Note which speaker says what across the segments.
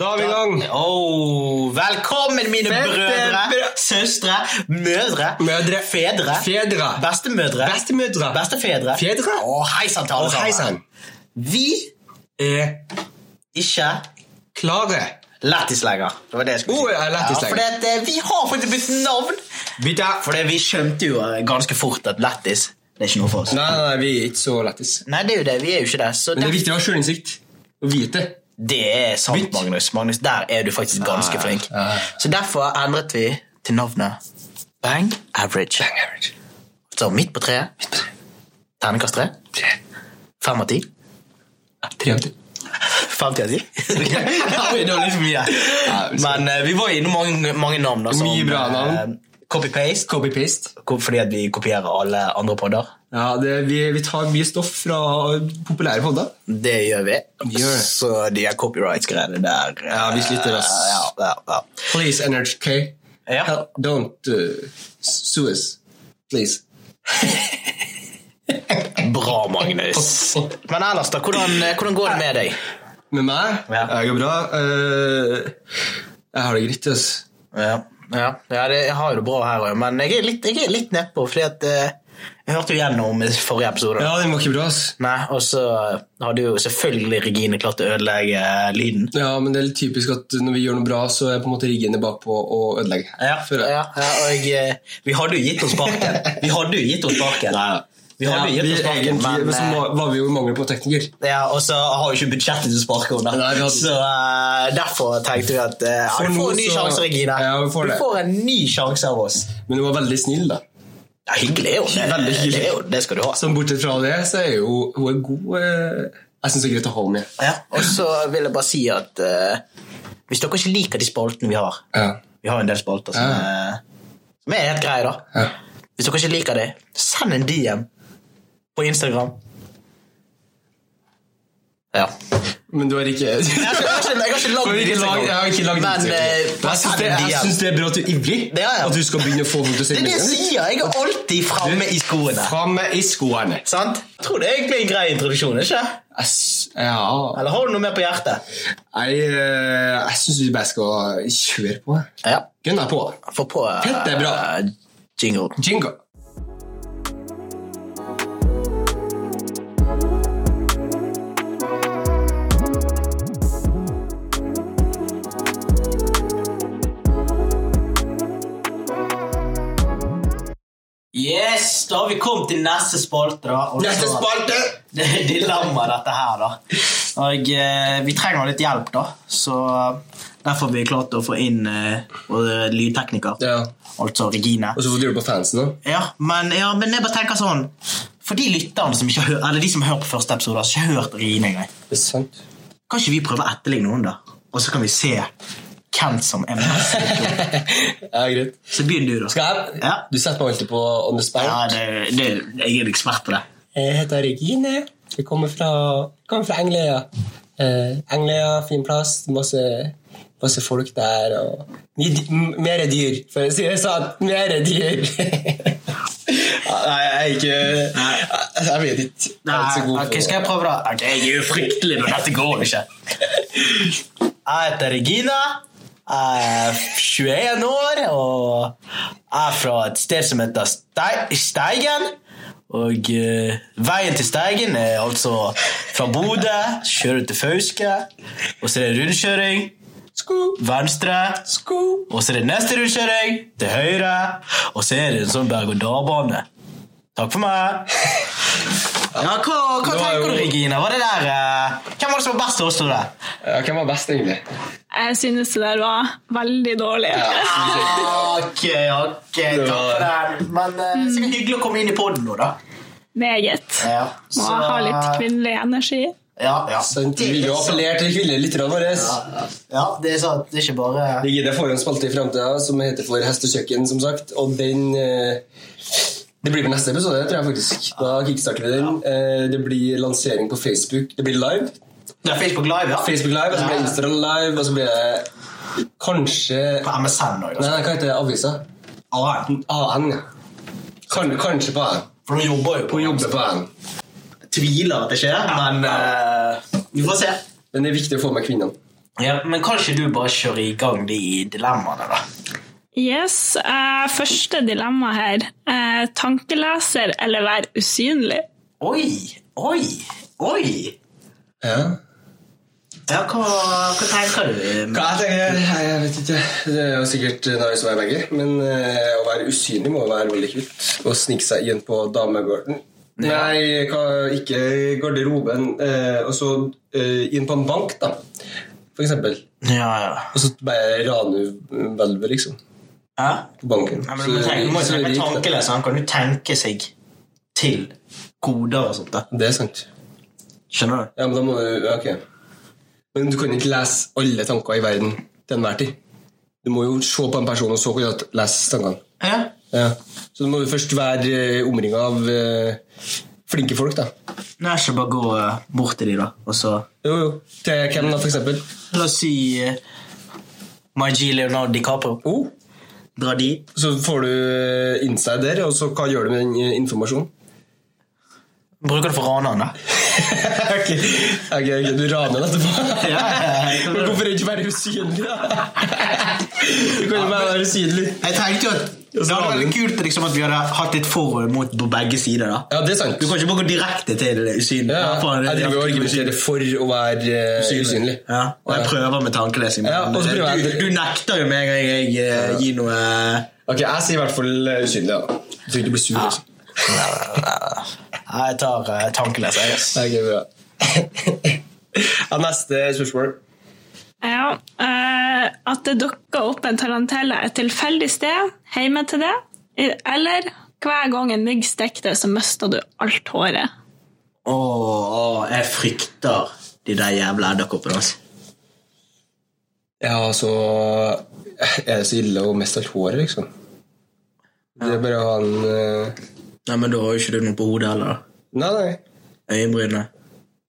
Speaker 1: Da er vi i gang.
Speaker 2: Oh, velkommen, mine
Speaker 1: Fete
Speaker 2: brødre,
Speaker 1: brø-
Speaker 2: søstre, mødre,
Speaker 1: Mødre.
Speaker 2: fedre,
Speaker 1: Fedre.
Speaker 2: bestemødre,
Speaker 1: Bestemødre.
Speaker 2: bestefedre.
Speaker 1: Fedre.
Speaker 2: Å, hei sann til alle
Speaker 1: Og hei sann.
Speaker 2: Vi
Speaker 1: Er
Speaker 2: ikke
Speaker 1: klare.
Speaker 2: lættislegger. Det var det jeg skulle
Speaker 1: Oh,
Speaker 2: si.
Speaker 1: ja, lættislegger.
Speaker 2: Ja, fordi at, eh, vi har faktisk blitt navn.
Speaker 1: Vi der.
Speaker 2: Fordi vi skjønte jo eh, ganske fort at lættis, det er ikke noe for oss.
Speaker 1: Nei, nei, nei, vi er ikke så lættis.
Speaker 2: Nei, det er jo det. Vi er jo ikke det. Så
Speaker 1: Men det er
Speaker 2: det,
Speaker 1: viktig å ha sjølinnsikt. Å vite.
Speaker 2: det er sant,
Speaker 1: Vitt.
Speaker 2: Magnus. Magnus, Der er du faktisk ganske flink.
Speaker 1: ja.
Speaker 2: Så derfor endret vi til navnet Bang Average.
Speaker 1: Bang average.
Speaker 2: Så midt på treet. Terningkast tre. Fem av ti.
Speaker 1: Tre av ti.
Speaker 2: Femti av ti? det var litt
Speaker 1: liksom,
Speaker 2: for mye. Men eh, vi var innom mange, mange navn. Da, som,
Speaker 1: Mye bra navn.
Speaker 2: eh, Copy-paste.
Speaker 1: Copy-paste.
Speaker 2: ko- Fordi at vi kopierer alle andre podder.
Speaker 1: Ja, det, vi, vi tar mye stoff fra populære podder.
Speaker 2: Det gjør vi.
Speaker 1: Gjør det.
Speaker 2: Så de her copyrights-greiene der eh,
Speaker 1: Ja, vi sliter, ass.
Speaker 2: Ja, ja, ja.
Speaker 1: Please, NRK.
Speaker 2: Ja.
Speaker 1: Help, don't uh, sue us. Please.
Speaker 2: Bra, Magnus. Men ellers, da? Hvordan, eh, hvordan går det med deg?
Speaker 1: Med meg?
Speaker 2: Ja.
Speaker 1: Jeg går bra. Eh, jeg har det greit, ass.
Speaker 2: Ja, ja, ja det, jeg har jo det bra her òg, men jeg er litt, jeg er litt nedpå. Fordi at eh, jeg hørte jo gjennom forrige episode.
Speaker 1: Ja, den var ikke bra, ass.
Speaker 2: Nei, Og så hadde jo selvfølgelig Regine klart å ødelegge eh, lyden.
Speaker 1: Ja, men det er litt typisk at når vi gjør noe bra, så er på en måte riggene bakpå og ødelegger.
Speaker 2: Ja,
Speaker 1: For,
Speaker 2: ja, ja og eh, vi hadde jo gitt oss sparken. Vi hadde jo gitt oss sparken. Vi hadde jo
Speaker 1: Ja,
Speaker 2: gitt
Speaker 1: vi
Speaker 2: oss sparken,
Speaker 1: egentlig, men,
Speaker 2: men
Speaker 1: så
Speaker 2: eh,
Speaker 1: må- var vi jo i mangel på tekniker.
Speaker 2: ja, Og så har jo ikke budsjettet til å sparke
Speaker 1: Nei, vi
Speaker 2: henne.
Speaker 1: hadde-
Speaker 2: Så eh, derfor tenkte vi at eh,
Speaker 1: For
Speaker 2: ja, du får
Speaker 1: nå
Speaker 2: en ny
Speaker 1: så-
Speaker 2: sjanse, Regine.
Speaker 1: Ja, vi får
Speaker 2: du
Speaker 1: det.
Speaker 2: får en ny sjanse av oss.
Speaker 1: Men hun var veldig snill, da.
Speaker 2: Ja, hyggelig er jo det.
Speaker 1: Veldig hyggelig.
Speaker 2: Det, er jo- det skal du ha.
Speaker 1: Så bortsett fra det, så er jo hun er god eh, Jeg syns det er greit å holde med.
Speaker 2: Ja, og så vil jeg bare si at eh, hvis dere ikke liker de spaltene vi har
Speaker 1: Ja.
Speaker 2: Vi har en del spalter som,
Speaker 1: Ja.
Speaker 2: eh, som er helt greie, da.
Speaker 1: Ja.
Speaker 2: Hvis dere ikke liker det, send en DM på Instagram. Ja.
Speaker 1: Men du har ikke
Speaker 2: Jeg har ikke- jeg har ikke
Speaker 1: For
Speaker 2: lagd
Speaker 1: ikke lag-
Speaker 2: Instagram.
Speaker 1: Jeg har ikke lagd
Speaker 2: Men,
Speaker 1: Instagram.
Speaker 2: eh,
Speaker 1: Jeg syns det, jeg
Speaker 2: DM.
Speaker 1: syns det er bra at du er ivrig.
Speaker 2: Ja, ja.
Speaker 1: At du skal begynne å få folk til å se
Speaker 2: Det er det jeg
Speaker 1: meldingene.
Speaker 2: sier. Jeg er alltid framme i skoene.
Speaker 1: Framme i skoene.
Speaker 2: Sant? Jeg tror det er egentlig en grei introduksjon. ikke?
Speaker 1: Jeg s- Ja
Speaker 2: Eller har du noe mer på hjertet?
Speaker 1: Jeg, eh, jeg syns vi bare skal kjøre på.
Speaker 2: Ja.
Speaker 1: Gunna på.
Speaker 2: Få på eh,
Speaker 1: Fett, det er bra.
Speaker 2: jingle.
Speaker 1: Jingo.
Speaker 2: Yes, da har vi kommet til neste spalte. da. Og
Speaker 1: Neste
Speaker 2: så-
Speaker 1: spalte!
Speaker 2: Det er dilemma, dette her, da. Og eh, vi trenger litt hjelp, da. Så eh, derfor har vi klart å få inn eh, vår lydtekniker,
Speaker 1: Ja.
Speaker 2: altså Regine.
Speaker 1: Og så får du gjøre det på fansen, da.
Speaker 2: Ja men, ja, men jeg bare tenker sånn For de lytterne som ikke har hørt Eller de som hører på første episode, har ikke hørt Regine engang.
Speaker 1: Det er sant.
Speaker 2: Kan ikke vi prøve å etterligne henne, da? Og så kan vi se hvem som er mest.
Speaker 1: ja, greit.
Speaker 2: Så begynn du, da.
Speaker 1: Skal jeg?
Speaker 2: Ja.
Speaker 1: Du setter meg alltid på on the spot.
Speaker 2: Ja, det, det, jeg er ekspert på det.
Speaker 1: Jeg heter Regine. Jeg kommer fra, kommer fra Engeløya. Eh, Engeløya, fin plass. Masse, masse folk der. Og mye dy- m- mer dyr, for å si det sånn. Mer dyr. Ja, Nei, jeg er ikke Jeg jeg vet ikke. Jeg er ikke så god
Speaker 2: Nei, ok, skal jeg prøve da? Ok, jeg er jo fryktelig, men dette går ikke. Jeg heter Regina. Jeg er 21 år og er fra et sted som heter Stei- Steigen. Og eh, veien til Steigen er altså fra Bodø, kjører til Fauske, og så er det rundkjøring. Venstre. Og så er det neste rundkjøring til høyre, og så er det en sånn berg-og-dal-bane. Takk for meg. Ja, hva, hva
Speaker 1: Det var
Speaker 2: tenker
Speaker 1: jo-
Speaker 2: du, Regina? Var det der, eh, hvem var det som var best av oss to? der?
Speaker 1: Ja, Hvem var best, egentlig?
Speaker 3: Jeg synes det der var veldig dårlig.
Speaker 2: Ok, ok, takk for det. Men eh, sikkert hyggelig å komme inn i poden nå, da.
Speaker 3: Meget.
Speaker 2: Ja,
Speaker 3: Må ha litt kvinnelig energi.
Speaker 2: Ja, ja.
Speaker 1: Sant, Vi vil jo appellere til kvinnelytterne våre.
Speaker 2: ja, det er sant. Det er ikke bare
Speaker 1: Regine får jo en spalte i framtida som heter For hest og kjøkken, som sagt. Og den eh, Det blir på neste episode, tror jeg faktisk. Da kickstarter vi den. Eh, Det blir lansering på Facebook. Det blir live.
Speaker 2: Det er Facebook Live, ja.
Speaker 1: Facebook Live, og så blir det Insta Live, og så blir det kanskje
Speaker 2: På MSN òg.
Speaker 1: Nei, nei, hva heter det? avisa? AN, ja. Kan, kanskje på AN.
Speaker 2: For hun jobber jo på
Speaker 1: Hun jobber på AN.
Speaker 2: Tviler at det skjer, men eh, vi får se.
Speaker 1: Men det er viktig å få med kvinnene.
Speaker 2: Ja, men kan ikke du bare kjøre i gang de dilemmaene, da?
Speaker 3: Yes. eh, første dilemma her. Eh, tankeleser eller være usynlig?
Speaker 2: Oi, oi, oi!
Speaker 1: Ja.
Speaker 2: Ja, hva, hva tenker du?
Speaker 1: Hva jeg tenker jeg? Nei, Jeg vet ikke. Det er jo sikkert noe som er begge. Men eh, å være usynlig må jo være veldig kult. Å snike seg inn på damegården. Nei, hva, ikke i garderoben. eh, og så eh, inn på en bank, da. For eksempel.
Speaker 2: Ja, ja.
Speaker 1: Og så bare rane hvelvet, liksom.
Speaker 2: Hæ?
Speaker 1: På banken.
Speaker 2: Nei, men du må tenke, du må
Speaker 1: så
Speaker 2: tenke
Speaker 1: rikt, da.
Speaker 2: tankeløs. Han kan jo tenke seg til koder og sånt. da.
Speaker 1: Det er sant.
Speaker 2: Skjønner du?
Speaker 1: Ja, men da må du ja, Ok. Men du kan ikke lese alle tanker i verden til enhver tid. Du må jo se på en person, og så kan du lese tankene.
Speaker 2: Ja.
Speaker 1: Ja. Så du må jo først være omringa av eh, flinke folk, da.
Speaker 2: Nei, så bare gå eh, bort til de da, og så
Speaker 1: Jo, jo. Til hvem, da, for eksempel?
Speaker 2: La oss si eh, My G. Leonardo DiCaprio.
Speaker 1: Oh.
Speaker 2: Dra dit.
Speaker 1: Så får du eh, inside der, og så hva gjør du med den eh, informasjonen?
Speaker 2: Bruker det for raneren, da.
Speaker 1: ok, ok, ok, du raner den etterpå?
Speaker 2: Ja, ja, ja.
Speaker 1: Men hvorfor ikke være usynlig, da? Du kan jo bare være usynlig.
Speaker 2: Jeg tenkte jo at det
Speaker 1: så
Speaker 2: hadde
Speaker 1: har vi den.
Speaker 2: vært kult liksom, at vi hadde hatt litt for og imot på begge sider. da.
Speaker 1: Ja, det er sant.
Speaker 2: Du kan ikke bare gå direkte til usynlig.
Speaker 1: Ja,
Speaker 2: Ja, faen, det-
Speaker 1: jeg driver og argumenterer for å være eh, usynlig.
Speaker 2: Ja, og jeg prøver med tankelesing. men
Speaker 1: Ja, og så prøver jeg-
Speaker 2: du, du nekter jo med en gang jeg eh, gir noe eh,
Speaker 1: Ok, jeg sier i hvert fall eh, usynlig, da. Så du ikke blir sur. altså.
Speaker 2: Nei, jeg tar uh, tankeleser. Yes.
Speaker 1: Ok, bra. ja, neste spørsmål.
Speaker 3: Ja, eh, at det dukker opp en tarantella et tilfeldig sted, hjemme til det, i- eller hver gang en mygg stikker deg, så mister du alt håret.
Speaker 2: Åh, åh, jeg frykter de der jævla edderkoppene. Altså.
Speaker 1: Ja, altså Er det så ille å miste alt håret, liksom? Det er bare å ha en eh,
Speaker 2: Nei, men da har jo ikke du noe på hodet heller.
Speaker 1: Nei, nei.
Speaker 2: da. Øyenbrynene.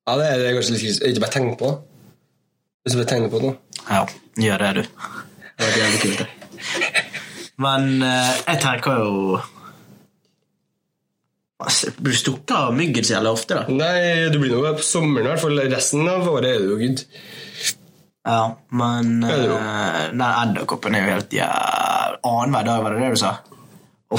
Speaker 1: Ja, det er det er kanskje litt krise. Ikke bare tenk på det. Hvis du bare tenker på det nå.
Speaker 2: Ja, gjør det, du. Det var jævlig kult, det. Men eh, jeg tenker jo altså, Du stukker av myggen så jævlig ofte, da.
Speaker 1: Nei, du blir nå på sommeren, i hvert fall. Resten av året er det jo good.
Speaker 2: Ja, men
Speaker 1: Ja, det er jo.
Speaker 2: eh, den edderkoppen er jo helt jævlig Annenhver dag, var det det du sa?
Speaker 1: Du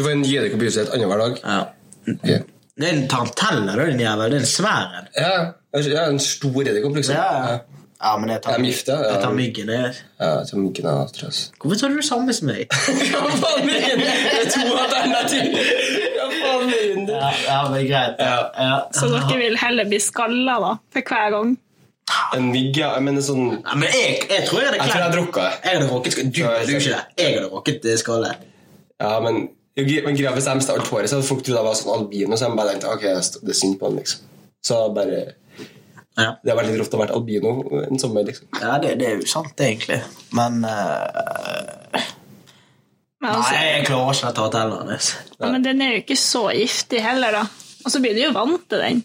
Speaker 1: får en gjedekopp i huset et annenhver dag.
Speaker 2: Ja.
Speaker 1: Ok.
Speaker 2: Det er en tarantella, da, din jævel. Det er en svær en.
Speaker 1: Ja, altså, ja, en stor edderkopp, liksom.
Speaker 2: Ja, ja, men jeg tar,
Speaker 1: Jeg er gift, ja.
Speaker 2: jeg tar myggen. jeg.
Speaker 1: Ja, som ikke noe annet, altså.
Speaker 2: Hvorfor tar du det samme som meg?
Speaker 1: Hva faen mener du? Det er to alternativ! Hva faen mener du?
Speaker 2: Ja, ja, men greit. Ja. Ja.
Speaker 3: Så dere vil heller bli skalla da, for hver gang.
Speaker 1: En mygg, ja. Men en sånn
Speaker 2: Ja, men jeg, jeg tror jeg hadde
Speaker 1: Jeg tror jeg hadde drukket det.
Speaker 2: Jeg hadde rokket skal- Du,
Speaker 1: Ja, jeg
Speaker 2: du
Speaker 1: ser.
Speaker 2: ikke det. Jeg hadde rokket eh, skallet.
Speaker 1: Ja, men jo, men greia hvis jeg mistet alt håret, så hadde folk trodd jeg var sånn albino. Så jeg bare tenkte, ok, det er synd på han, liksom. Så bare
Speaker 2: Ja.
Speaker 1: Det har vært litt rått å være albino en sommer, liksom.
Speaker 2: Ja, det, det er jo sant, egentlig. Men eh,
Speaker 3: Men,
Speaker 2: Nei,
Speaker 3: altså,
Speaker 2: jeg klarer ikke dette hotellet hans.
Speaker 3: ja, men den er jo ikke så giftig heller, da. Og så blir du jo vant til den.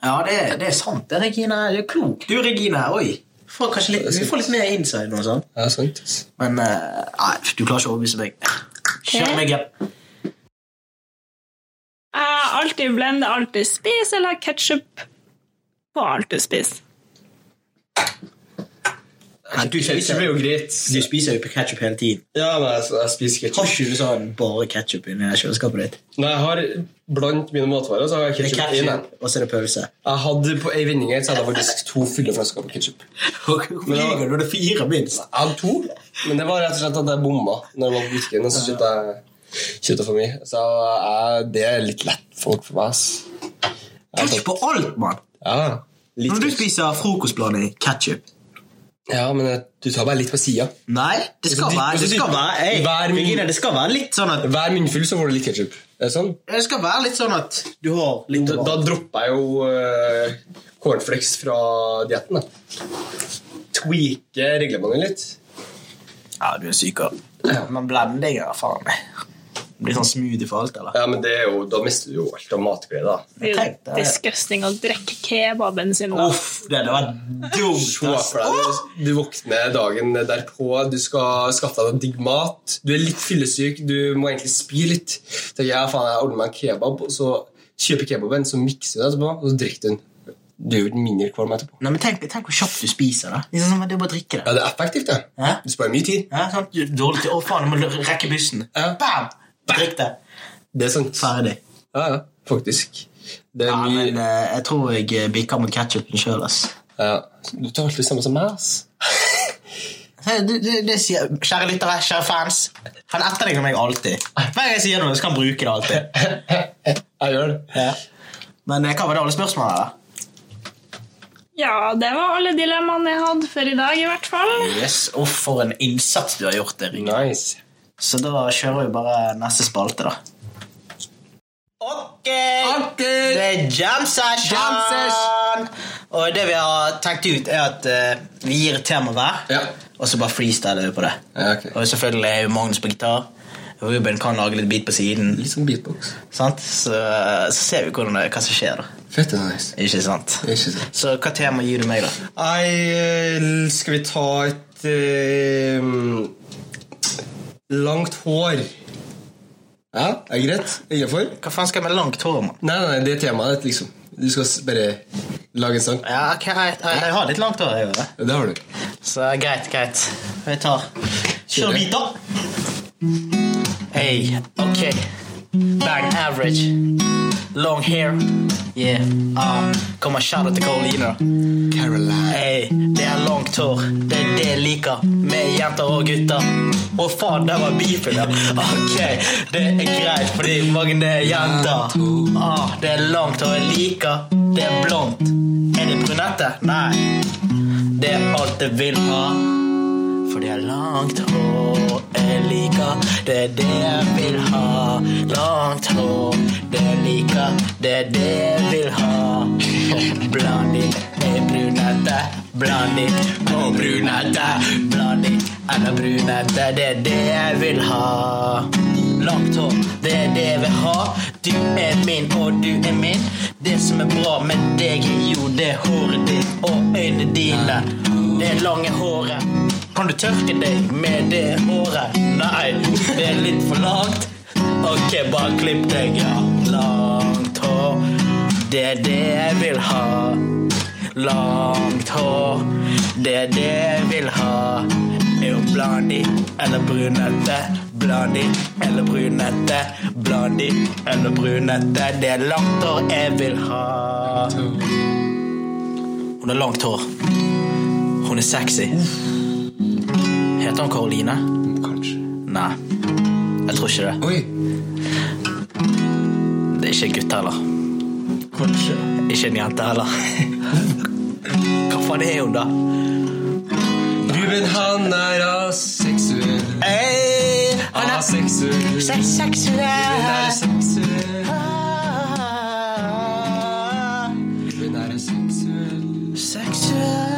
Speaker 2: Ja, det, det er sant, det, Regine. Du er klok, du, Regine. Oi. Får kanskje litt, vi får litt mer inside nå, sånn.
Speaker 1: Ja, sant.
Speaker 2: Men eh, nei, du klarer ikke å overbevise meg. Kjør meg hjem.
Speaker 3: Eh, alltid blende, alltid spis, eller ketsjup på alt du spiser.
Speaker 2: Du spiser jo,
Speaker 1: jo greit.
Speaker 2: du spiser jo ketchup hele tiden.
Speaker 1: Ja, men jeg, jeg spiser
Speaker 2: Har
Speaker 1: ketsjup.
Speaker 2: ikke du sånn bare ketsjup inni kjøleskapet ditt?
Speaker 1: Når jeg har blant mine matvarer, så har jeg
Speaker 2: Det er
Speaker 1: ketsjup i den.
Speaker 2: ketchup, og så er det pølse.
Speaker 1: Jeg hadde på ei vending her, så hadde jeg faktisk to fulle flasker på ketsjup.
Speaker 2: Hvorfor lyver du når det er fire, minst?
Speaker 1: Jeg hadde to, men det var rett og slett at jeg bomma når jeg var på butikken. Og så kjøpte jeg kjøpte jeg for mye. Så jeg, det er litt lett folk for meg. ass.
Speaker 2: Ketchup på alt, mann!
Speaker 1: Ja,
Speaker 2: Når
Speaker 1: litt
Speaker 2: du
Speaker 1: ketsjup.
Speaker 2: spiser frokostbladet i ketchup
Speaker 1: ja, men eh, du tar bare litt på sida.
Speaker 2: Nei, det
Speaker 1: Altså,
Speaker 2: skal
Speaker 1: de-
Speaker 2: være
Speaker 1: altså,
Speaker 2: Det skal
Speaker 1: de-
Speaker 2: være, hey,
Speaker 1: hver min-
Speaker 2: Regine, det skal være litt sånn at
Speaker 1: Hver munnfull så får du litt ketsjup. Det er sånn.
Speaker 2: Det skal være litt sånn at du har litt
Speaker 1: Da, da dropper jeg jo uh, cornflakes fra dietten. Tweake reglementet litt.
Speaker 2: Ja, du er syk av Men blending er faen meg Blir sånn smoothie for alt, eller?
Speaker 1: Ja, men det er jo, Da mister du jo alt av matglede. da.
Speaker 3: Det er
Speaker 2: Jeg tenkte
Speaker 3: jo
Speaker 2: det.
Speaker 3: disgusting å drikke kebaben sin. da.
Speaker 2: Uff, det hadde vært dumt
Speaker 1: Se
Speaker 2: ass.
Speaker 1: for deg, du, du våkner dagen derpå, du skal skaffe deg noe digg mat. Du er litt fyllesyk, du må egentlig spy litt. Så tenker jeg, faen, jeg ordner meg en kebab, og så kjøper kebaben, så mikser du den etterpå, og så drikker du den. Du er jo mindre kvalm etterpå.
Speaker 2: Nei, men tenk, tenk hvor kjapt du spiser. da. Det er sånn at det er bare å drikke det.
Speaker 1: Ja, det er effektivt, det.
Speaker 2: Ja.
Speaker 1: Du sparer mye tid.
Speaker 2: Ja, sant? Du- Dårlig til, å faen, jeg må l- rekke bussen.
Speaker 1: Ja.
Speaker 2: Bam! Drikk det.
Speaker 1: Det er sant.
Speaker 2: Ferdig.
Speaker 1: Ja, ja, faktisk. Det er
Speaker 2: Ja,
Speaker 1: mye
Speaker 2: men eh, jeg tror jeg eh, bikker mot ketsjupen sjøl, ass.
Speaker 1: ja. Du tar alt det samme som meg, ass.
Speaker 2: Hei, du- du- det sier, kjære lyttere, kjære fans. Han etterligner meg alltid. Hver gang jeg sier noe, så kan han bruke det alltid.
Speaker 1: Jeg gjør det.
Speaker 2: Ja. Men eh, hva var det alle spørsmålene? da?
Speaker 3: Ja, det var alle dilemmaene jeg hadde for i dag, i hvert fall.
Speaker 2: Yes, og for en innsats du har gjort, Erik.
Speaker 1: Nice.
Speaker 2: Så da kjører vi bare neste spalte, da. Ok! Det er jam session!
Speaker 1: Jam
Speaker 2: Og det vi har tenkt ut, er at eh, vi gir et tema hver,
Speaker 1: Ja.
Speaker 2: og så bare freestyler vi på det.
Speaker 1: Ja, ok.
Speaker 2: Og selvfølgelig er jo Magnus på gitar. Ruben kan lage litt beat på siden.
Speaker 1: Litt sånn beatbox.
Speaker 2: Sant? Så, eh, så ser vi hvordan det, hva som skjer, da.
Speaker 1: Fett det er nice.
Speaker 2: Ikke sant?
Speaker 1: Ikke sant.
Speaker 2: Så hva tema gir du meg, da?
Speaker 1: Nei, eh, skal vi ta et eh, langt hår? Ja, er greit. Innenfor?
Speaker 2: Hva faen skal jeg med langt hår, mann?
Speaker 1: Nei, nei, det er temaet ditt, liksom. Du skal s- bare lage en sang.
Speaker 2: Ja, ok, jeg, jeg, jeg har litt langt hår. jeg gjør det.
Speaker 1: Det har du.
Speaker 2: Så greit, greit. Vi tar Kjør beat, da. Hey, ok. Bang average. Long hair. Yeah. Ah, Kommer shout til Karoline, da.
Speaker 1: Caroline.
Speaker 2: Hey, det er langt hår, det er det jeg liker med jenter og gutter. Å faen, der var beefen, ja. Ok, det er greit, fordi Magne er jenter. Ah, det er langt hår jeg liker, det er blondt. Er det brunette? Nei. Det er alt jeg vil ha. For det er langt hår jeg liker, det er det jeg vil ha. Langt hår det jeg liker, det er det jeg vil ha. Bland inn med brunette, bland inn og brunette. Bland inn eller brunette, det er det jeg vil ha. Langt hår, det er det jeg vil ha. Du er min, og du er min. Det som er bra med deg, er jo det håret ditt og øynene dine. Det lange håret. Kan du tørke deg med det håret? Nei, det er litt for langt. Ok, bare klipp deg, ja. Langt hår, det er det jeg vil ha. Langt hår, det er det jeg vil ha. Er jo blandi eller brunette? Blandi eller brunette? Blandi eller brunette? Det er langt hår jeg vil ha. Hun har langt hår. Hun er sexy. Heter hun Karoline?
Speaker 1: Kanskje.
Speaker 2: Nei. Jeg tror ikke det.
Speaker 1: Oi.
Speaker 2: Det er ikke en gutt heller.
Speaker 1: Kanskje.
Speaker 2: Ikke en jente heller. Hva faen er hun, da?
Speaker 1: Ruben, han er aseksuell.
Speaker 2: Hey, han er
Speaker 1: Aseksuell.
Speaker 2: se-
Speaker 1: Ruben er
Speaker 2: seksuell.
Speaker 1: seksuell. Ruben er seksuell.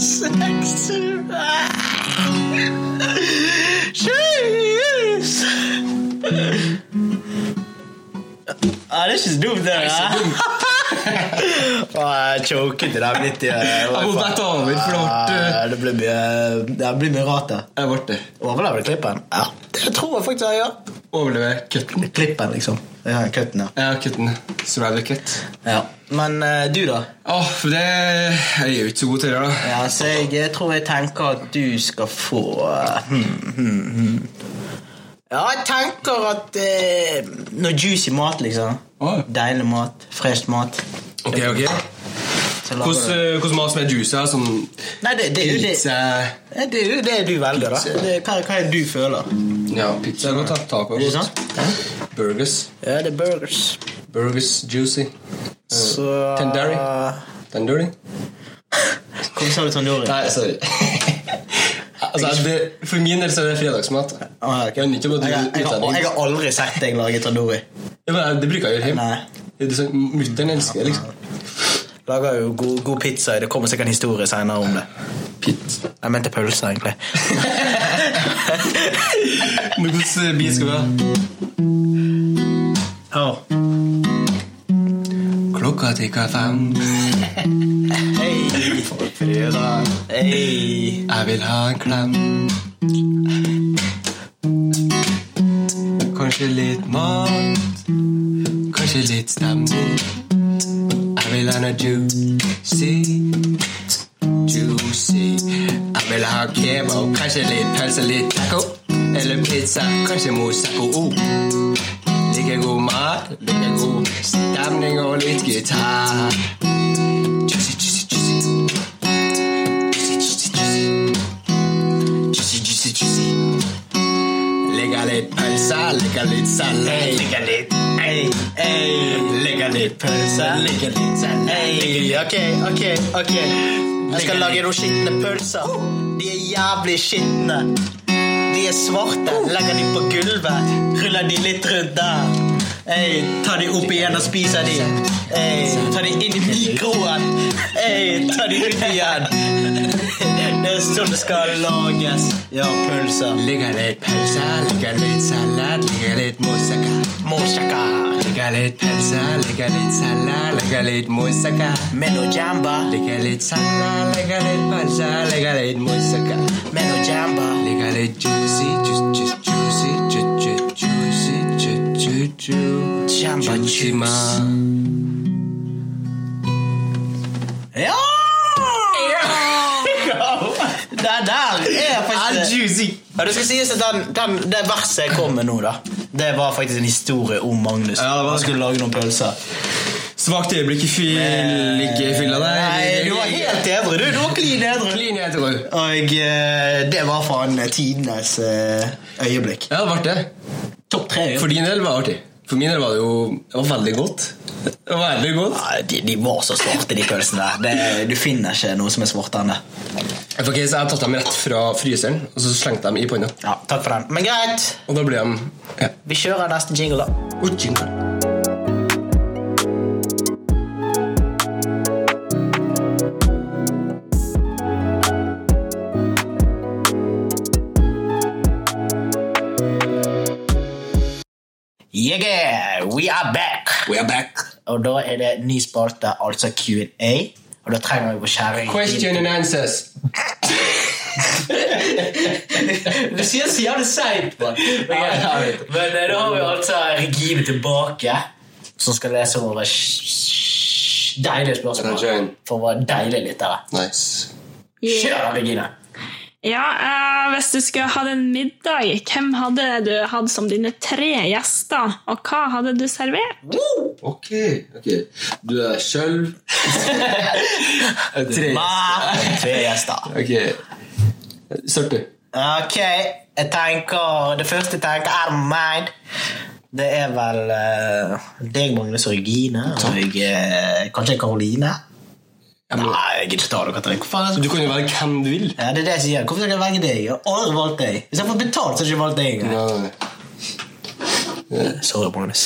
Speaker 2: Seksuell.
Speaker 1: Aseksuell.
Speaker 2: Ah, Seksuell. Jeez. Ah, det er ikke så dumt, det. Å, jeg choket i dag litt. ja. Det eh, var
Speaker 1: Jeg må
Speaker 2: faen-
Speaker 1: bare ta over, for det ble-
Speaker 2: Ja, Det ble mye, det ble mye rart, det.
Speaker 1: Jeg ble det.
Speaker 2: Overlever du klippen? Ja, det tror jeg faktisk jeg gjør.
Speaker 1: Overlever kutten.
Speaker 2: Klippen, liksom. Ja, kutten, ja.
Speaker 1: Ja, kutten. Survival cut.
Speaker 2: ja. Men eh, du, da?
Speaker 1: Åh, for det Jeg er jo ikke så god til det, da.
Speaker 2: Ja, så jeg, jeg tror jeg tenker at du skal få eh, hmm, hmm, hmm. Ja, jeg tenker at eh, noe juicy mat, liksom.
Speaker 1: Ah.
Speaker 2: Deilig mat. Fresh mat.
Speaker 1: Ok, ok.
Speaker 2: Så lager
Speaker 1: Hvordan
Speaker 2: du-
Speaker 1: eh, hvordan mat som er juicy? da? Sånn
Speaker 2: Nei, det, det, er jo det,
Speaker 1: pizza
Speaker 2: det er jo det du velger, da. Det, hva, hva er det du føler?
Speaker 1: Ja, pizza er godt. da. Taco er
Speaker 2: Ikke
Speaker 1: godt.
Speaker 2: sant?
Speaker 1: Burgers.
Speaker 2: Ja, det er burgers.
Speaker 1: Burgers juicy.
Speaker 2: Så
Speaker 1: Tenderi. Tandoori?
Speaker 2: Kom, sa du tandori?
Speaker 1: Nei, sorry. altså, det, for min del så er det fredagsmat. da.
Speaker 2: Ah, ok.
Speaker 1: Jeg er nødt til å gå til
Speaker 2: Jeg har- jeg har-
Speaker 1: utlending.
Speaker 2: jeg har aldri sett deg lage tandori.
Speaker 1: Ja, men Det bruker jeg å gjøre hjemme.
Speaker 2: Nei.
Speaker 1: Det er sånn, Mutter'n elsker det, liksom.
Speaker 2: Lager jo god, god pizza. Det kommer sikkert en historie senere om det.
Speaker 1: Pizza.
Speaker 2: Jeg mente pølser, egentlig.
Speaker 1: Men hvordan eh, bil skal vi ha?
Speaker 2: Oh.
Speaker 1: Klokka tikker fem.
Speaker 2: Hei.
Speaker 1: Fredag.
Speaker 2: Hei.
Speaker 1: Jeg vil ha en klem. Kanskje litt mat. She did not me. I vil ha noe juicy. Juicy. Jeg vil ha kebab, kanskje litt pølse, litt taco. Eller pizza, kanskje moussako. Oh. Like god mat, like god stemning og litt gitar. Juicy, juicy, juicy. Juicy, juicy, juicy. Juicy, juicy, juicy. Legger litt pølse, legger litt salat. Legger litt, ei, ei. Legger litt pølse, legger litt salat.
Speaker 2: Hey, ok, ok, ok. Jeg skal lage noen skitne pølser. De er jævlig skitne. De er svarte. Legger de på gulvet. Ruller de litt rundt der. Hey, tar de opp igjen og spiser de. Hey, tar de inn i mikroen. Hey, tar de ut igjen. Det er sånn det skal lages. Ja, pølser.
Speaker 1: Legger litt pølse, legger litt salat, legger litt moussaka.
Speaker 2: Moussaka.
Speaker 1: Legger litt pølse, legger litt salat, legger litt moussaka.
Speaker 2: Med noe jamba.
Speaker 1: Legger litt salat, legger litt pølse, legger litt moussaka.
Speaker 2: Med noe jamba.
Speaker 1: Legger litt juicy, ju- ju- juicy, ju- ju- juicy, ju- ju- ju-
Speaker 2: Jamba
Speaker 1: juicy,
Speaker 2: juice.
Speaker 1: man.
Speaker 2: Ja! Det der er faktisk
Speaker 1: juicy.
Speaker 2: ja, Det skal sies at den, den, det verset jeg kom med nå, da Det var faktisk en historie om Magnus.
Speaker 1: Ja, det var-
Speaker 2: Han skulle lage noen pølser.
Speaker 1: Svakt øyeblikk i fyll, ikke i fylla der.
Speaker 2: Nei, du var helt edru. Du, du var klin edru.
Speaker 1: Klin edru.
Speaker 2: Og eh, det var faen tidenes eh, øyeblikk.
Speaker 1: Ja, det ble det.
Speaker 2: Topp tre.
Speaker 1: For
Speaker 2: Fordi
Speaker 1: din del var det artig. For min del var det jo det var veldig godt. Det var veldig godt.
Speaker 2: Nei, de, de var så svarte, de pølsene. der. Det- Du finner ikke noe som er svartere enn det.
Speaker 1: Jeg, faktisk, jeg har tatt dem rett fra fryseren, og så slengte dem i panna.
Speaker 2: Ja, takk for den. Men greit,
Speaker 1: Og da ble de ja.
Speaker 2: vi kjører neste jingle, da.
Speaker 1: Og jingle.
Speaker 2: Yeah, we are back!
Speaker 1: We are back.
Speaker 2: Og da er det ny spalte, altså Q&A. Og da trenger vi vår kjære
Speaker 1: Question and answers.
Speaker 2: Du sier så jævlig seint, mann. Men,
Speaker 1: Ja, jeg vet.
Speaker 2: men eh, da har vi altså Regine tilbake, som skal lese våre sj- sj- deilige
Speaker 1: Den er
Speaker 2: spørsmål.
Speaker 1: skjønn.
Speaker 2: For våre deilige lyttere.
Speaker 1: Nice.
Speaker 2: Kjør, da, Regine!
Speaker 3: Ja, eh, Hvis du skulle hatt en middag, hvem hadde du hatt som dine tre gjester? Og hva hadde du servert?
Speaker 1: Ok, ok. Du er sjøl Tre.
Speaker 2: Ma, tre gjester.
Speaker 1: Ok. Sorte.
Speaker 2: Ok, jeg tenker Det første jeg tenker, er meg. Det er vel eh, deg, Magnus og Regine. Og eh, kanskje Karoline.
Speaker 1: Jeg må-
Speaker 2: Nei, jeg gidder ikke ta det, Katrin. Hvorfor er det så-
Speaker 1: Du kan jo være hvem du vil.
Speaker 2: Ja, det er det jeg sier. Hvorfor skal jeg velge deg? Jeg har aldri valgt deg. Hvis jeg får betalt, så har jeg ikke valgt deg engang. Sorry, Magnus.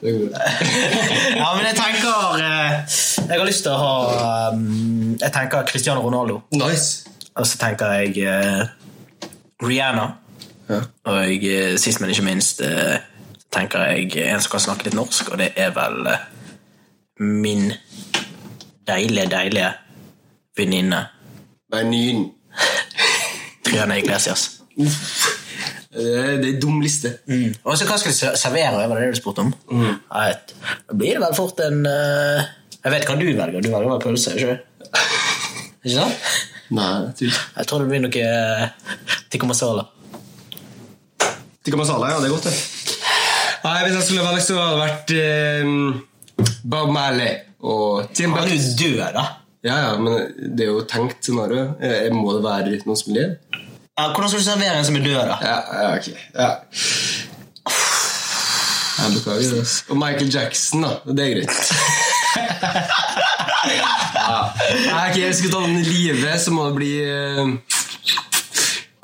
Speaker 1: Det går bra.
Speaker 2: ja, men jeg tenker eh, Jeg har lyst til å ha um, Jeg tenker Cristiano Ronaldo.
Speaker 1: Nice.
Speaker 2: Og så tenker jeg eh, Rihanna.
Speaker 1: Ja.
Speaker 2: Og eh, sist, men ikke minst, eh, så tenker jeg en som kan snakke litt norsk, og det er vel eh, min deilige, deilige venninne
Speaker 1: Benyn.
Speaker 2: Triana Iglesias.
Speaker 1: Det er en dum liste.
Speaker 2: Mm. Og så hva skal vi ser- servere? Var det det du spurte om? Nei, et- Da blir det vel fort en eh, Jeg vet hva du velger. Du velger vel pølse, ikke sant? Ikke sant?
Speaker 1: Nei, jeg tror ikke.
Speaker 2: Jeg tror det blir noe eh, tikka masala.
Speaker 1: Tikka masala, ja. Det er godt, det. Nei, Hvis jeg skulle valgt, så hadde det vært eh, Bob Marley og Tim
Speaker 2: Men
Speaker 1: Buck.
Speaker 2: du er død, da.
Speaker 1: Ja, ja, men det er jo tenkt scenario. Eh, Må det være noen som lever?
Speaker 2: Ja, hvordan skal du servere en som er død, da?
Speaker 1: Ja, ja, ok. Ja. Jeg beklager altså. det. ass. Og Michael Jackson, da. Det er greit. ja. Nei, ok, jeg skal ta den i live, så må det bli eh,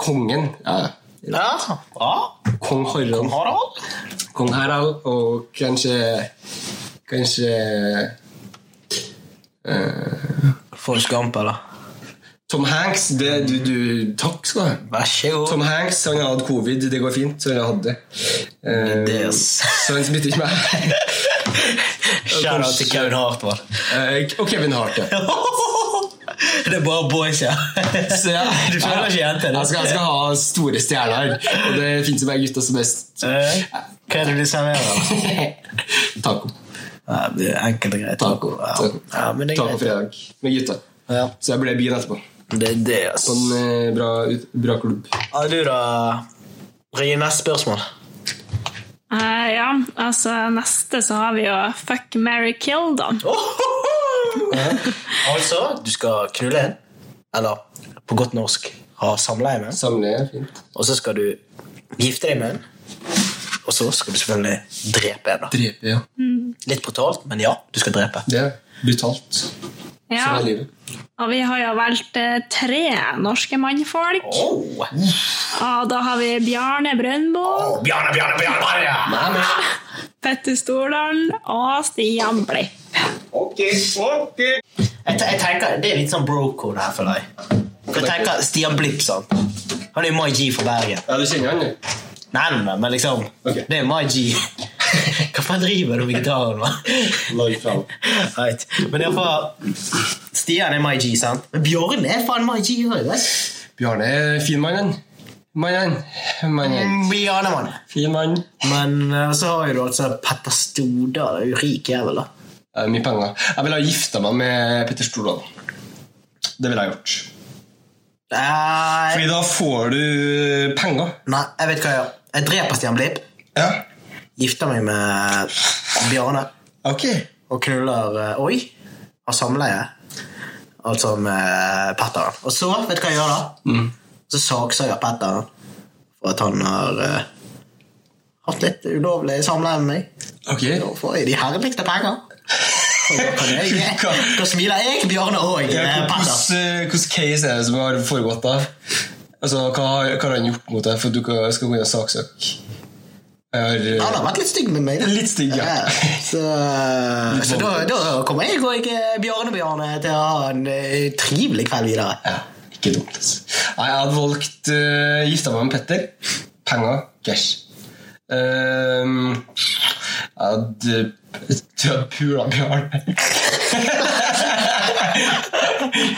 Speaker 1: Kongen. Ja.
Speaker 2: Ja, bra.
Speaker 1: Kong Harald.
Speaker 2: Harald?
Speaker 1: Kong Harald og kanskje Kanskje
Speaker 2: Får du skamp, eller?
Speaker 1: Tom Hanks. Det, du, du, takk skal du ha.
Speaker 2: Vær så god.
Speaker 1: Tom Hanks han hadde covid. Det går fint, så han hadde det. Eh,
Speaker 2: Yes.
Speaker 1: så han smitter ikke meg.
Speaker 2: Shout-out til Kevin Hartmann.
Speaker 1: Eh, og Kevin Hart, ja.
Speaker 2: Det er bare boys, ja.
Speaker 1: Så ja,
Speaker 2: Du føler ikke jenter?
Speaker 1: Jeg skal, jeg skal ha store stjerner. Og det fins jo bare gutter som er best.
Speaker 2: Eh, Hva er det du serverer? da?
Speaker 1: Taco.
Speaker 2: Ja, det blir enkelt og greit.
Speaker 1: Taco.
Speaker 2: Ja, ja men det er greit.
Speaker 1: Tacofredag med gutta.
Speaker 2: Ja.
Speaker 1: Så jeg ble i byen etterpå.
Speaker 2: Det er det, ass.
Speaker 1: På en eh, bra, ut- bra klubb.
Speaker 2: Har du da Rie, neste spørsmål.
Speaker 3: Eh, ja, altså neste så har vi jo Fuck, marry, kill, da.
Speaker 2: altså, du skal knulle en. Eller på godt norsk ha samleie med en.
Speaker 1: Samleie er fint.
Speaker 2: Og så skal du gifte deg med en. Og så skal du selvfølgelig drepe en. da.
Speaker 1: Drepe, ja.
Speaker 2: Litt brutalt, men ja, du skal drepe.
Speaker 1: Det er brutalt.
Speaker 3: Ja,
Speaker 1: Sånn er livet.
Speaker 3: og vi har jo valgt eh, tre norske mannfolk.
Speaker 2: Oh.
Speaker 3: Og da har vi Bjarne Brøndbo,
Speaker 2: Bjarne, Bjarne, Bjarne!
Speaker 1: Nei, men
Speaker 3: Petter Stordalen og Stian Blipp.
Speaker 2: Ok, ok. Jeg, te- jeg tenker, Det er litt sånn bro-code her for deg. For Jeg tenker Stian Blipp, sant? Han er jo My G fra Bergen.
Speaker 1: Ja, du kjenner han, du?
Speaker 2: Nei, nei, nei, men liksom
Speaker 1: Ok.
Speaker 2: Det er My G. Hva faen driver du med gitaren med?
Speaker 1: Lag fram.
Speaker 2: Right. Men iallfall Stian er My G, sant? Men Bjørn er faen My G òg.
Speaker 1: Bjarne er fin mann, han. Mannen. Mannen.
Speaker 2: Mm, Bjarnemann.
Speaker 1: Fin mann.
Speaker 2: Men eh, så har jo du altså Petter Stordal. er jo Rik jævel, da.
Speaker 1: Eh, mye penger. Jeg ville ha gifta meg med Petter Stordalen. Det ville jeg gjort.
Speaker 2: Nei,
Speaker 1: Fordi da får du penger.
Speaker 2: nei, jeg vet hva jeg gjør. Jeg dreper Stian Blipp,
Speaker 1: Ja.
Speaker 2: gifter meg med Bjarne
Speaker 1: Ok.
Speaker 2: og knuller eh, Oi! Har samleie. Altså med Petter. Og så, vet du hva jeg gjør da?
Speaker 1: Mm.
Speaker 2: Så saksøker Petter for at han har eh, hatt litt ulovlig samleie med meg.
Speaker 1: Ok.
Speaker 2: Da får jeg de herligste penger. Og Da kan jeg- da smiler jeg, Bjarne og
Speaker 1: Ja,
Speaker 2: eh, Petter.
Speaker 1: Hvordan hvordan case er det som har foregått da? Altså, hva har, hva har han gjort mot deg for at du kan- skal gå inn og saksøke? Jeg
Speaker 2: Han
Speaker 1: har...
Speaker 2: har vært litt stygg med meg. da.
Speaker 1: Litt stygg, ja.
Speaker 2: Så, så da, da kommer jeg og jeg, Bjarne Bjarne til å ha en eh, trivelig kveld videre.
Speaker 1: Ja, ikke dumt. altså. Nei, jeg hadde valgt uh, gifta meg med Petter. Penger. Cash. Ehm, jeg hadde jeg tror jeg pula Bjarne. Nei, jeg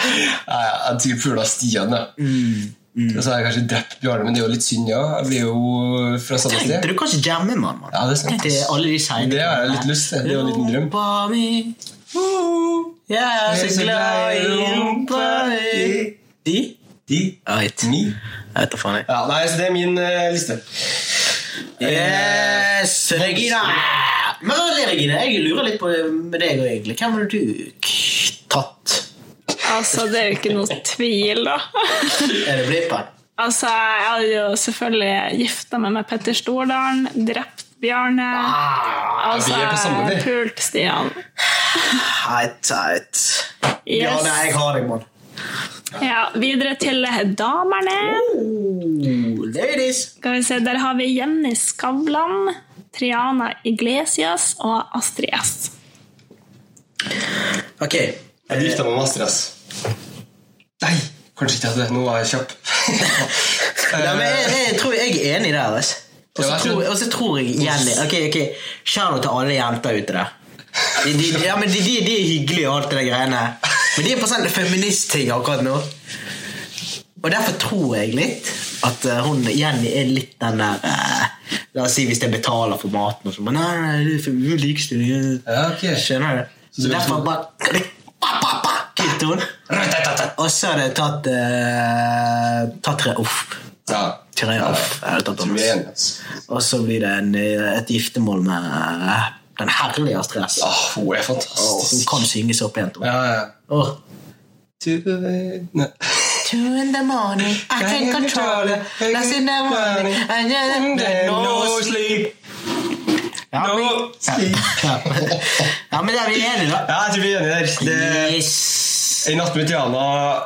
Speaker 1: hadde sikkert pula Stian, da.
Speaker 2: Mm,
Speaker 1: Og så har jeg kanskje drept Bjarne, men det er jo litt synd, ja. Jeg blir jo fra samme sted.
Speaker 2: Tenkte du kanskje jamme med han? mann?
Speaker 1: Ja, det er sant.
Speaker 2: Tenkte alle de seine
Speaker 1: Det har jeg litt lyst til. Det er jo en liten drøm.
Speaker 2: Rumpa mi, uh, jeg er så glad i rumpa mi. De?
Speaker 1: De,
Speaker 2: Right.
Speaker 1: ni.
Speaker 2: Jeg vet da faen. jeg.
Speaker 1: Ja, nei, så det er min eh, liste.
Speaker 2: Yes, Regina! Men Ali, Regina, jeg lurer litt på med deg og egentlig. Hvem ville du k- tatt?
Speaker 3: Altså, det er jo ikke noe tvil, da.
Speaker 2: Er det Blippen?
Speaker 3: altså, jeg hadde jo selvfølgelig gifta meg med Petter Stordalen, drept Bjarne.
Speaker 2: Ah,
Speaker 3: Altså,
Speaker 1: vi er på samme tid.
Speaker 3: pult Stian.
Speaker 2: Teit, teit.
Speaker 3: Yes.
Speaker 2: Ja, nei, jeg har deg, mann.
Speaker 3: Ja, videre til damerne.
Speaker 2: Oh, ladies.
Speaker 3: Skal vi se, Der har vi Jenny Skavlan, Triana Iglesias og Astrid S.
Speaker 2: Ok.
Speaker 1: Jeg drifta med master, ass. Nei, kanskje ikke at det. Nå var jeg kjapp.
Speaker 2: Ja, men jeg, jeg tror jeg er enig der. ass. Og så
Speaker 1: Ja, jeg
Speaker 2: tror,
Speaker 1: skjønner.
Speaker 2: og så tror jeg Jenny Ok, ok, Kjære til alle jenter ute der. De, de, ja, men de, de, de er hyggelige og alt det der greiene. Men de er på sånn feministting akkurat nå. Og derfor tror jeg litt at eh, hun Jenny er litt den der eh, La oss si hvis jeg betaler for maten og sånn. Men nei, nei, det er for- det er likestilling.
Speaker 1: Ja, ok.
Speaker 2: Skjønner du?
Speaker 1: Så
Speaker 2: Så
Speaker 1: du
Speaker 2: derfor
Speaker 1: tror-
Speaker 2: bare pa, pa, pa, kutt hun. Og så har det tatt eh, Tatt tre off.
Speaker 1: Ja.
Speaker 2: Tre off. Jeg har
Speaker 1: Jeg
Speaker 2: tatt
Speaker 1: tror vi er enige, ass.
Speaker 2: off. eh, Og så blir det en, eh, et giftermål med eh, den herlige Stress.
Speaker 1: Åh, hun Ah, er
Speaker 2: Som
Speaker 1: fantastisk.
Speaker 2: kan synge så pent.
Speaker 1: Ja, ja.
Speaker 2: Oh.
Speaker 1: To the way- Nei.
Speaker 2: Two in the morning, I can't control it. That's in the morning, and then no sleep. Ja,
Speaker 1: No sleep.
Speaker 2: ja, men det er vi enige, da.
Speaker 1: Ja, jeg tror vi er enige der. Det
Speaker 2: Yes.
Speaker 1: er I natt med Tiana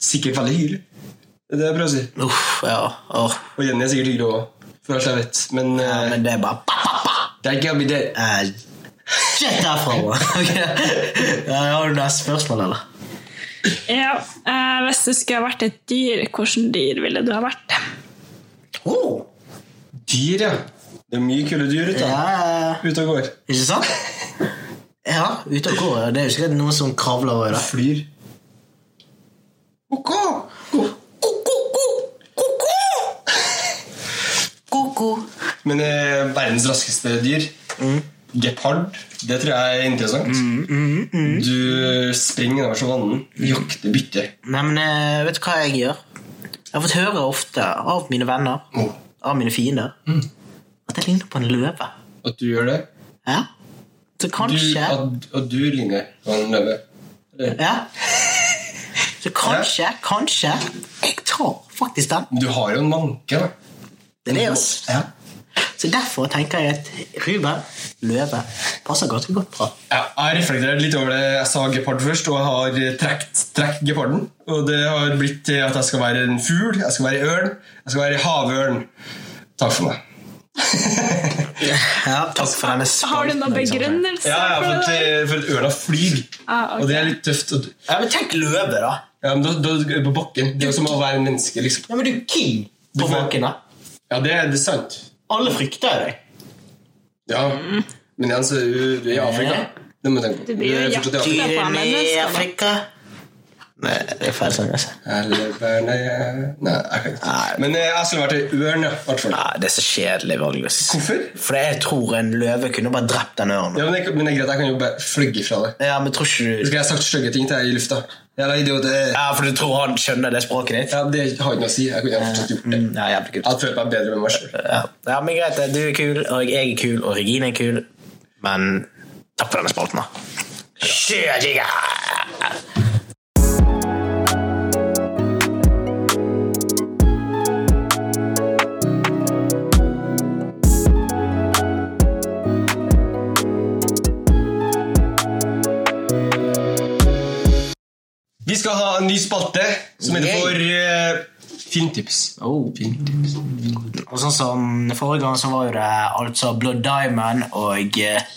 Speaker 1: sikkert veldig hyggelig. Det er det jeg prøver å si.
Speaker 2: Uff, ja. Åh.
Speaker 1: Og Jenny er sikkert hyggelig òg, for alt jeg vet. Men,
Speaker 2: ja.
Speaker 1: eh,
Speaker 2: Men det er bare pa, pa, pa.
Speaker 1: det er ikke å bli der.
Speaker 2: Eh, Shit derfra! Okay. Ja, har du neste spørsmål, eller?
Speaker 3: Ja, eh, Hvis du skulle ha vært et dyr, hvilket dyr ville du ha vært?
Speaker 2: Oh.
Speaker 1: Dyr, ja. Det er mye kule dyr ute
Speaker 2: Ja, ja, ja.
Speaker 1: ute og går.
Speaker 2: ikke sant? Ja, ute og går. ja. Det er jo sikkert noen som kravler over det.
Speaker 1: Flyr.
Speaker 2: Ko-ko! Ko-ko-ko! Ko-ko! Ko-ko.
Speaker 1: Men eh, verdens raskeste dyr Gepard. Det tror jeg er interessant. Du springer over savannen, jakter bytte.
Speaker 2: Nei, men eh, vet du hva jeg gjør? Jeg har fått høre ofte av mine venner,
Speaker 1: Mm.
Speaker 2: av mine fiender, at jeg ligner på en løve.
Speaker 1: At du gjør det?
Speaker 2: Ja? Så
Speaker 1: Du,
Speaker 2: kanskje
Speaker 1: at, at du ligner på en løve. Eller-
Speaker 2: Ja? Så kanskje, kanskje jeg tar faktisk den.
Speaker 1: Men Du har jo en manke, da.
Speaker 2: Den er oss.
Speaker 1: Ja.
Speaker 2: Så derfor tenker jeg at Ruben Løve passer ganske godt bra.
Speaker 1: Ja, jeg har reflektert litt over det jeg sa gepard først, og jeg har eh, trekt, trekt geparden. Og det har blitt til at jeg skal være en fugl, jeg skal være ørn, jeg skal være havørn. Takk for meg.
Speaker 2: Ja, takk for denne
Speaker 3: Har du noen begrunnelse?
Speaker 1: Ja, ja, for,
Speaker 3: for
Speaker 1: at,
Speaker 3: det?
Speaker 1: eh, for at ørna flyr.
Speaker 3: Ah, ok.
Speaker 1: Og det er litt tøft. Og,
Speaker 2: Ja, men tenk løve, da.
Speaker 1: ja, men da, da er du på bakken. Det er jo som å være en menneske, liksom.
Speaker 2: Ja, men du er king på
Speaker 1: Du får-
Speaker 2: bakken, da.
Speaker 1: Ja, det, er- det er sant.
Speaker 2: Alle frykter jo deg.
Speaker 1: Ja. Men igjen, så er du, du er i Afrika. Det må du tenke på.
Speaker 3: Mm. Du blir jo
Speaker 1: er fortsatt i Afrika.
Speaker 3: jaktet på av mennesker. da.
Speaker 2: Afrika. Nei, det er feil sang, altså.
Speaker 1: Eller bare- Nei, jeg kan ikke.
Speaker 2: Nei.
Speaker 1: Men eh, jeg skulle vært ei ørn, ja. i hvert fall.
Speaker 2: Nei, det er så kjedelig valgløs.
Speaker 1: Hvorfor?
Speaker 2: For jeg tror en løve kunne bare drept den ørnen.
Speaker 1: Ja, men, det, men det er greit, jeg kan jo bare flygge fra det.
Speaker 2: Ja, men tror ikke du
Speaker 1: Skulle jeg sagt stygge ting til deg i lufta? Jævla idiot. eh.
Speaker 2: Ja, for du tror han skjønner det språket ditt?
Speaker 1: Ja, det har ikke noe å si. Jeg kunne fortsatt gjort det.
Speaker 2: Mm, ja, jævlig
Speaker 1: Jeg
Speaker 2: kult.
Speaker 1: hadde følt meg bedre med meg selv.
Speaker 2: Ja. ja, men greit, du er kul, og jeg er kul, og Regine er kul, men takk for denne spalten, da. Shit, yeah.
Speaker 1: Vi skal ha en ny spalte som heter
Speaker 2: Yay.
Speaker 1: for eh, filmtips.
Speaker 2: Oh. Og sånn som forrige gang så var jo det altså Blood Diamond og eh,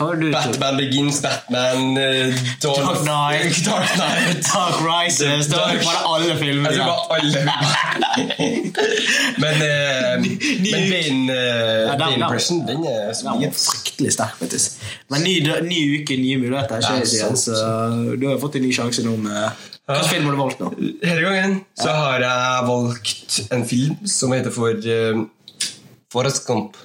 Speaker 2: Hva var det du tok?
Speaker 1: Batman Begins, Batman eh, Dawn
Speaker 2: Dark
Speaker 1: of-
Speaker 2: Knight.
Speaker 1: Dark Knight.
Speaker 2: Dark Rises. Da var
Speaker 1: Dark-
Speaker 2: det alle filmer.
Speaker 1: Jeg tror
Speaker 2: ja.
Speaker 1: bare alle Men eh, Men Bane eh,
Speaker 2: Ja, den-
Speaker 1: Bane
Speaker 2: den-
Speaker 1: Person, den er
Speaker 2: Den var
Speaker 1: smiget.
Speaker 2: fryktelig sterk, faktisk. Men ny, dø- ny uke, nye muligheter. Ikke
Speaker 1: Ja,
Speaker 2: jeg sier,
Speaker 1: sant,
Speaker 2: så øh, du har jo fått en ny sjanse nå med Hvilken film har du valgt nå?
Speaker 1: Denne gangen så har jeg valgt en film som heter for eh, Forrest Gump.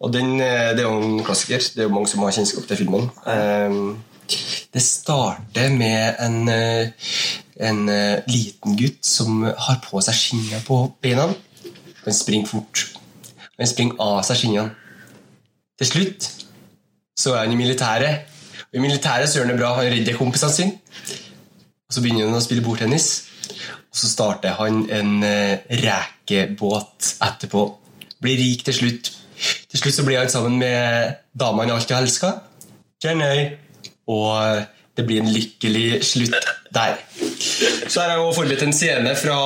Speaker 1: Og den, eh, det er jo en klassiker. Det er jo mange som har kjennskap til filmen. Ehm, det starter med en, eh, en eh, liten gutt som har på seg skinnene på beina. Han springer fort. Han springer av seg skinnene. Til slutt så er han i militæret. Og I militæret så gjør han det bra. Han redder kompisene sine. Og så begynner han å spille bordtennis. Og så starter han en eh, rekebåt etterpå. Blir rik til slutt. Til slutt så blir han sammen med dama han alltid har elska, Jenny. Og eh, det blir en lykkelig slutt der. Så her har jeg også forberedt en scene fra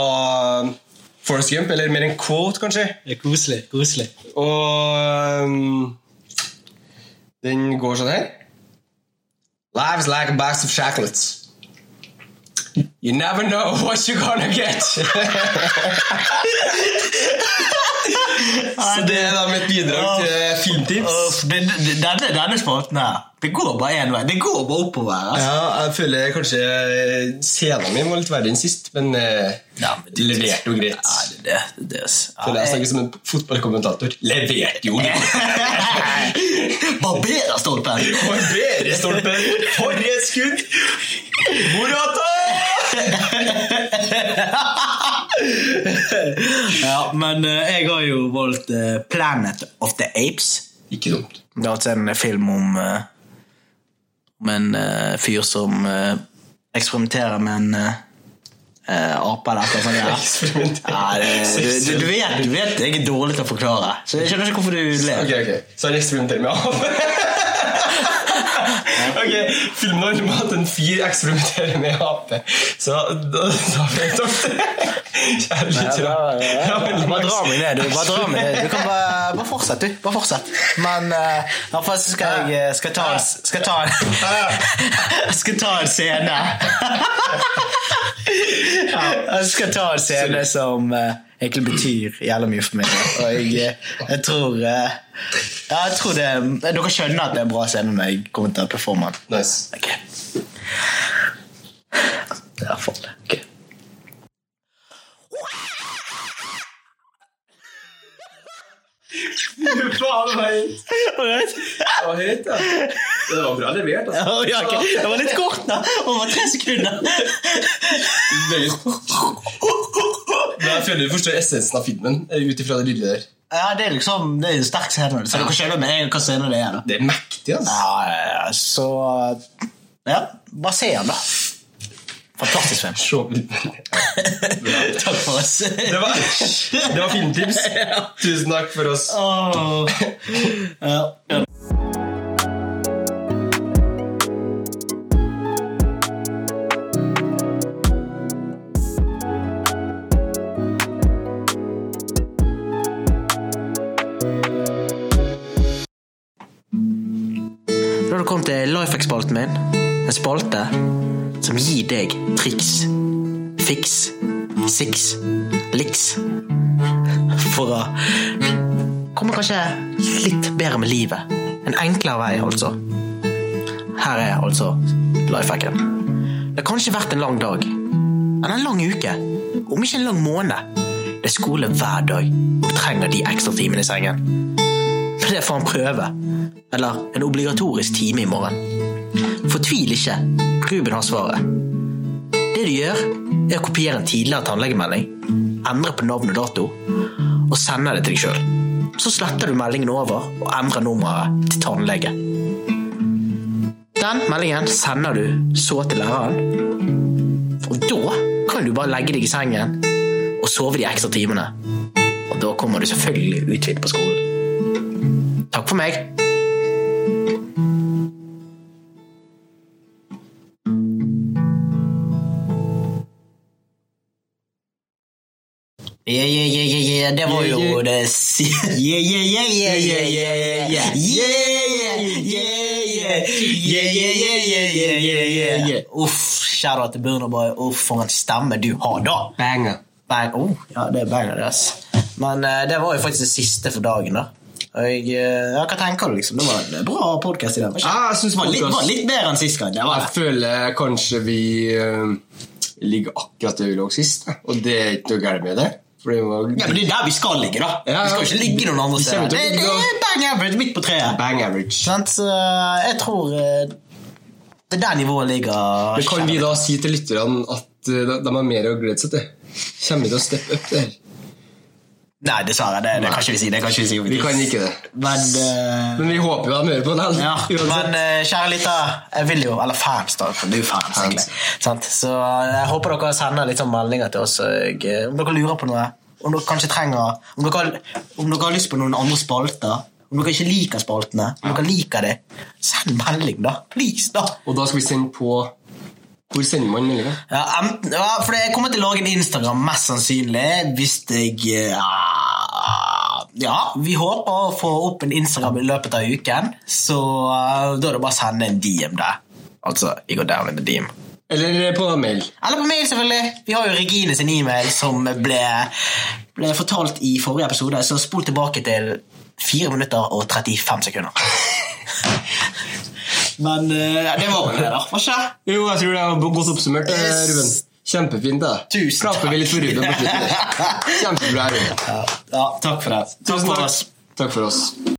Speaker 1: Forest Gump, eller mer en quote, kanskje.
Speaker 2: Det er koselig. koselig.
Speaker 1: Og um, den går sånn her. Life is like a box of chocolates. You never know what you're gonna get. Så det er da mitt bidrag til filmtips.
Speaker 2: denne, denne spalten her, det går bare én vei. Det går bare oppover. Altså.
Speaker 1: Ja, jeg føler kanskje scenen min var litt verre enn sist, men eh,
Speaker 2: Ja, men
Speaker 1: det leverte jo greit.
Speaker 2: Ja, det, det, det, det, ja,
Speaker 1: Føler jeg
Speaker 2: jeg-
Speaker 1: snakker som en fotballkommentator. Leverte jo greit.
Speaker 2: Barbererstolpen!
Speaker 1: Barberestolpen! For et skudd! Morata!
Speaker 2: Ja, men eh, jeg har jo valgt eh, Planet of the Apes.
Speaker 1: Ikke dumt.
Speaker 2: Det er altså en film om eh, Om en eh, fyr som eh, eksperimenterer med en eh, eh, ape eller noe sånt. Ja. Ja, det, du, du, du, vet, du vet jeg er dårlig til å forklare, så jeg skjønner ikke hvorfor du ler.
Speaker 1: Ok, ok. Så han eksperimenterer med ape. ok, Filmen handler om at en fyr eksperimenterer med ape. Så da, da vet dere det. Kjærlig
Speaker 2: Ja,
Speaker 1: tråd.
Speaker 2: bra, ja,
Speaker 1: Ja,
Speaker 2: ja.
Speaker 1: men
Speaker 2: Bare
Speaker 1: Max-
Speaker 2: dra meg ned, du. Bare dra meg ned. Du kan bare, bare fortsette, du. Bare fortsett. Men eh, i hvert fall så skal jeg eh, skal ta en, skal ta en, skal ta en scene. Ja, jeg skal ta en scene som eh, egentlig betyr jævla mye for meg. Og jeg, eh, jeg tror eh, ja, jeg tror det Dere skjønner at det er en bra scene når jeg kommer til å performe den.
Speaker 1: Nice.
Speaker 2: Ok. Ja, faen. Ok.
Speaker 1: Faen meg.
Speaker 2: Alright.
Speaker 1: Det var høyt, ja. Det var bra levert, altså.
Speaker 2: Å, ja, ok. Det var litt kort, da. Over tre sekunder.
Speaker 1: Men jeg føler du forstår essensen av filmen eh, ut ifra det lille der.
Speaker 2: Ja, det er liksom det er en sterk scene, så dere skjønner med en gang hva scene det er. da.
Speaker 1: Det er mektig, altså.
Speaker 2: Ja, ja, ja, så Ja, bare se den, da. Fantastisk film.
Speaker 1: Så- Det
Speaker 2: Takk for oss.
Speaker 1: var, det var filmtips. Tusen takk for oss.
Speaker 2: Åh. Ja. Da har du kommet til Lifehack-spalten min. En spalte som gir deg triks, fiks, siks, liks. For å komme kanskje litt bedre med livet. En enklere vei, altså. Her er altså lifehacken. Det har kanskje vært en lang dag. Eller en lang uke. Om ikke en lang måned. Det er skole hver dag. Du trenger de ekstra timene i sengen. Men det er for en prøve. Eller en obligatorisk time i morgen. Fortvil ikke. Ruben har svaret. Det du gjør, er å kopiere en tidligere tannlegemelding, endre på navn og dato, og sende det til deg sjøl. Så sletter du meldingen over og endrer nummeret til tannlege. Den meldingen sender du så til læreren, og da kan du bare legge deg i sengen og sove de ekstra timene. Og da kommer du selvfølgelig uthvilt på skolen. Takk for meg. Yeah, yeah, yeah, yeah, yeah. Det var
Speaker 1: Yeah,
Speaker 2: jo
Speaker 1: yeah.
Speaker 2: det si- Yeah, yeah, yeah, yeah, yeah, yeah, yeah, yeah. Yeah, yeah, yeah. Yeah, yeah, yeah, yeah, yeah, yeah, yeah, yeah. Uff, kjære til Burner Boy. Uff, for en stemme du har da.
Speaker 4: Banger.
Speaker 2: Bang. Oh, ja, det er banger, det, ass. Men eh, det var jo faktisk det siste for dagen, da. Og jeg, eh, ja, hva tenker du, liksom? Det var en bra podkast i dag. var ikke
Speaker 1: Ja,
Speaker 2: det?
Speaker 1: Ah, jeg synes
Speaker 2: Det var litt,
Speaker 1: podcast-
Speaker 2: var litt bedre enn sist gang. Det var
Speaker 1: Jeg
Speaker 2: det.
Speaker 1: føler kanskje vi eh, ligger akkurat der vi lå sist, da. og det er ikke noe galt med det. For det var
Speaker 2: Ja, men det er der vi skal ligge, da.
Speaker 1: Ja, ja.
Speaker 2: Vi skal jo ikke ligge noen andre
Speaker 1: Vi kommer
Speaker 2: steder.
Speaker 1: til
Speaker 2: Det,
Speaker 1: å
Speaker 2: det
Speaker 1: ligge-
Speaker 2: er bang average midt på treet.
Speaker 1: bang average.
Speaker 2: Sant, så jeg tror eh, det er der nivået ligger.
Speaker 1: Men kan vi da si til lytterne at eh, de de har mer å glede seg til? Kommer vi til å steppe opp det her?
Speaker 2: Nei, dessverre. Det, det kan ikke vi si. Det kan ikke vi si.
Speaker 1: Vi kan ikke det.
Speaker 2: Men eh,
Speaker 1: Men vi håper jo de hører på den.
Speaker 2: Ja,
Speaker 1: uansett.
Speaker 2: men eh, kjære lytter, jeg vil jo Eller fans, da. for Du er fans, egentlig. Sant? Så eh, jeg håper dere sender litt sånn meldinger til oss og, eh, om dere lurer på noe. Om dere kanskje trenger Om dere, har- om dere har lyst på noen andre spalter. Om dere ikke liker spaltene. Om dere liker det, send melding, da. Please, da.
Speaker 1: Og da skal vi sende på Hvor sender man meldinga?
Speaker 2: Ja, enten, ja, for jeg kommer til å lage en Instagram, mest sannsynlig, hvis jeg eh, Ja, vi håper å få opp en Instagram i løpet av uken, så eh, da er det bare å sende en DM der. Altså, jeg går down in the DM.
Speaker 1: Eller på mail.
Speaker 2: Eller på mail, selvfølgelig. Vi har jo Regine sin e-mail, som ble, ble fortalt i forrige episode, så spol tilbake til 4 minutter og 35 sekunder. Men eh, det var vel det, da. Hva skjer?
Speaker 1: Jo, jeg tror det var godt oppsummert, eh,
Speaker 2: Yes.
Speaker 1: Ruben. Kjempefint, da.
Speaker 2: Tusen takk.
Speaker 1: Klapper vi litt for Ruben på slutten. der. Kjempebra, Ruben.
Speaker 2: Ja, takk for det. Takk
Speaker 1: Tusen
Speaker 2: for
Speaker 1: takk.
Speaker 2: oss.
Speaker 1: Takk for oss.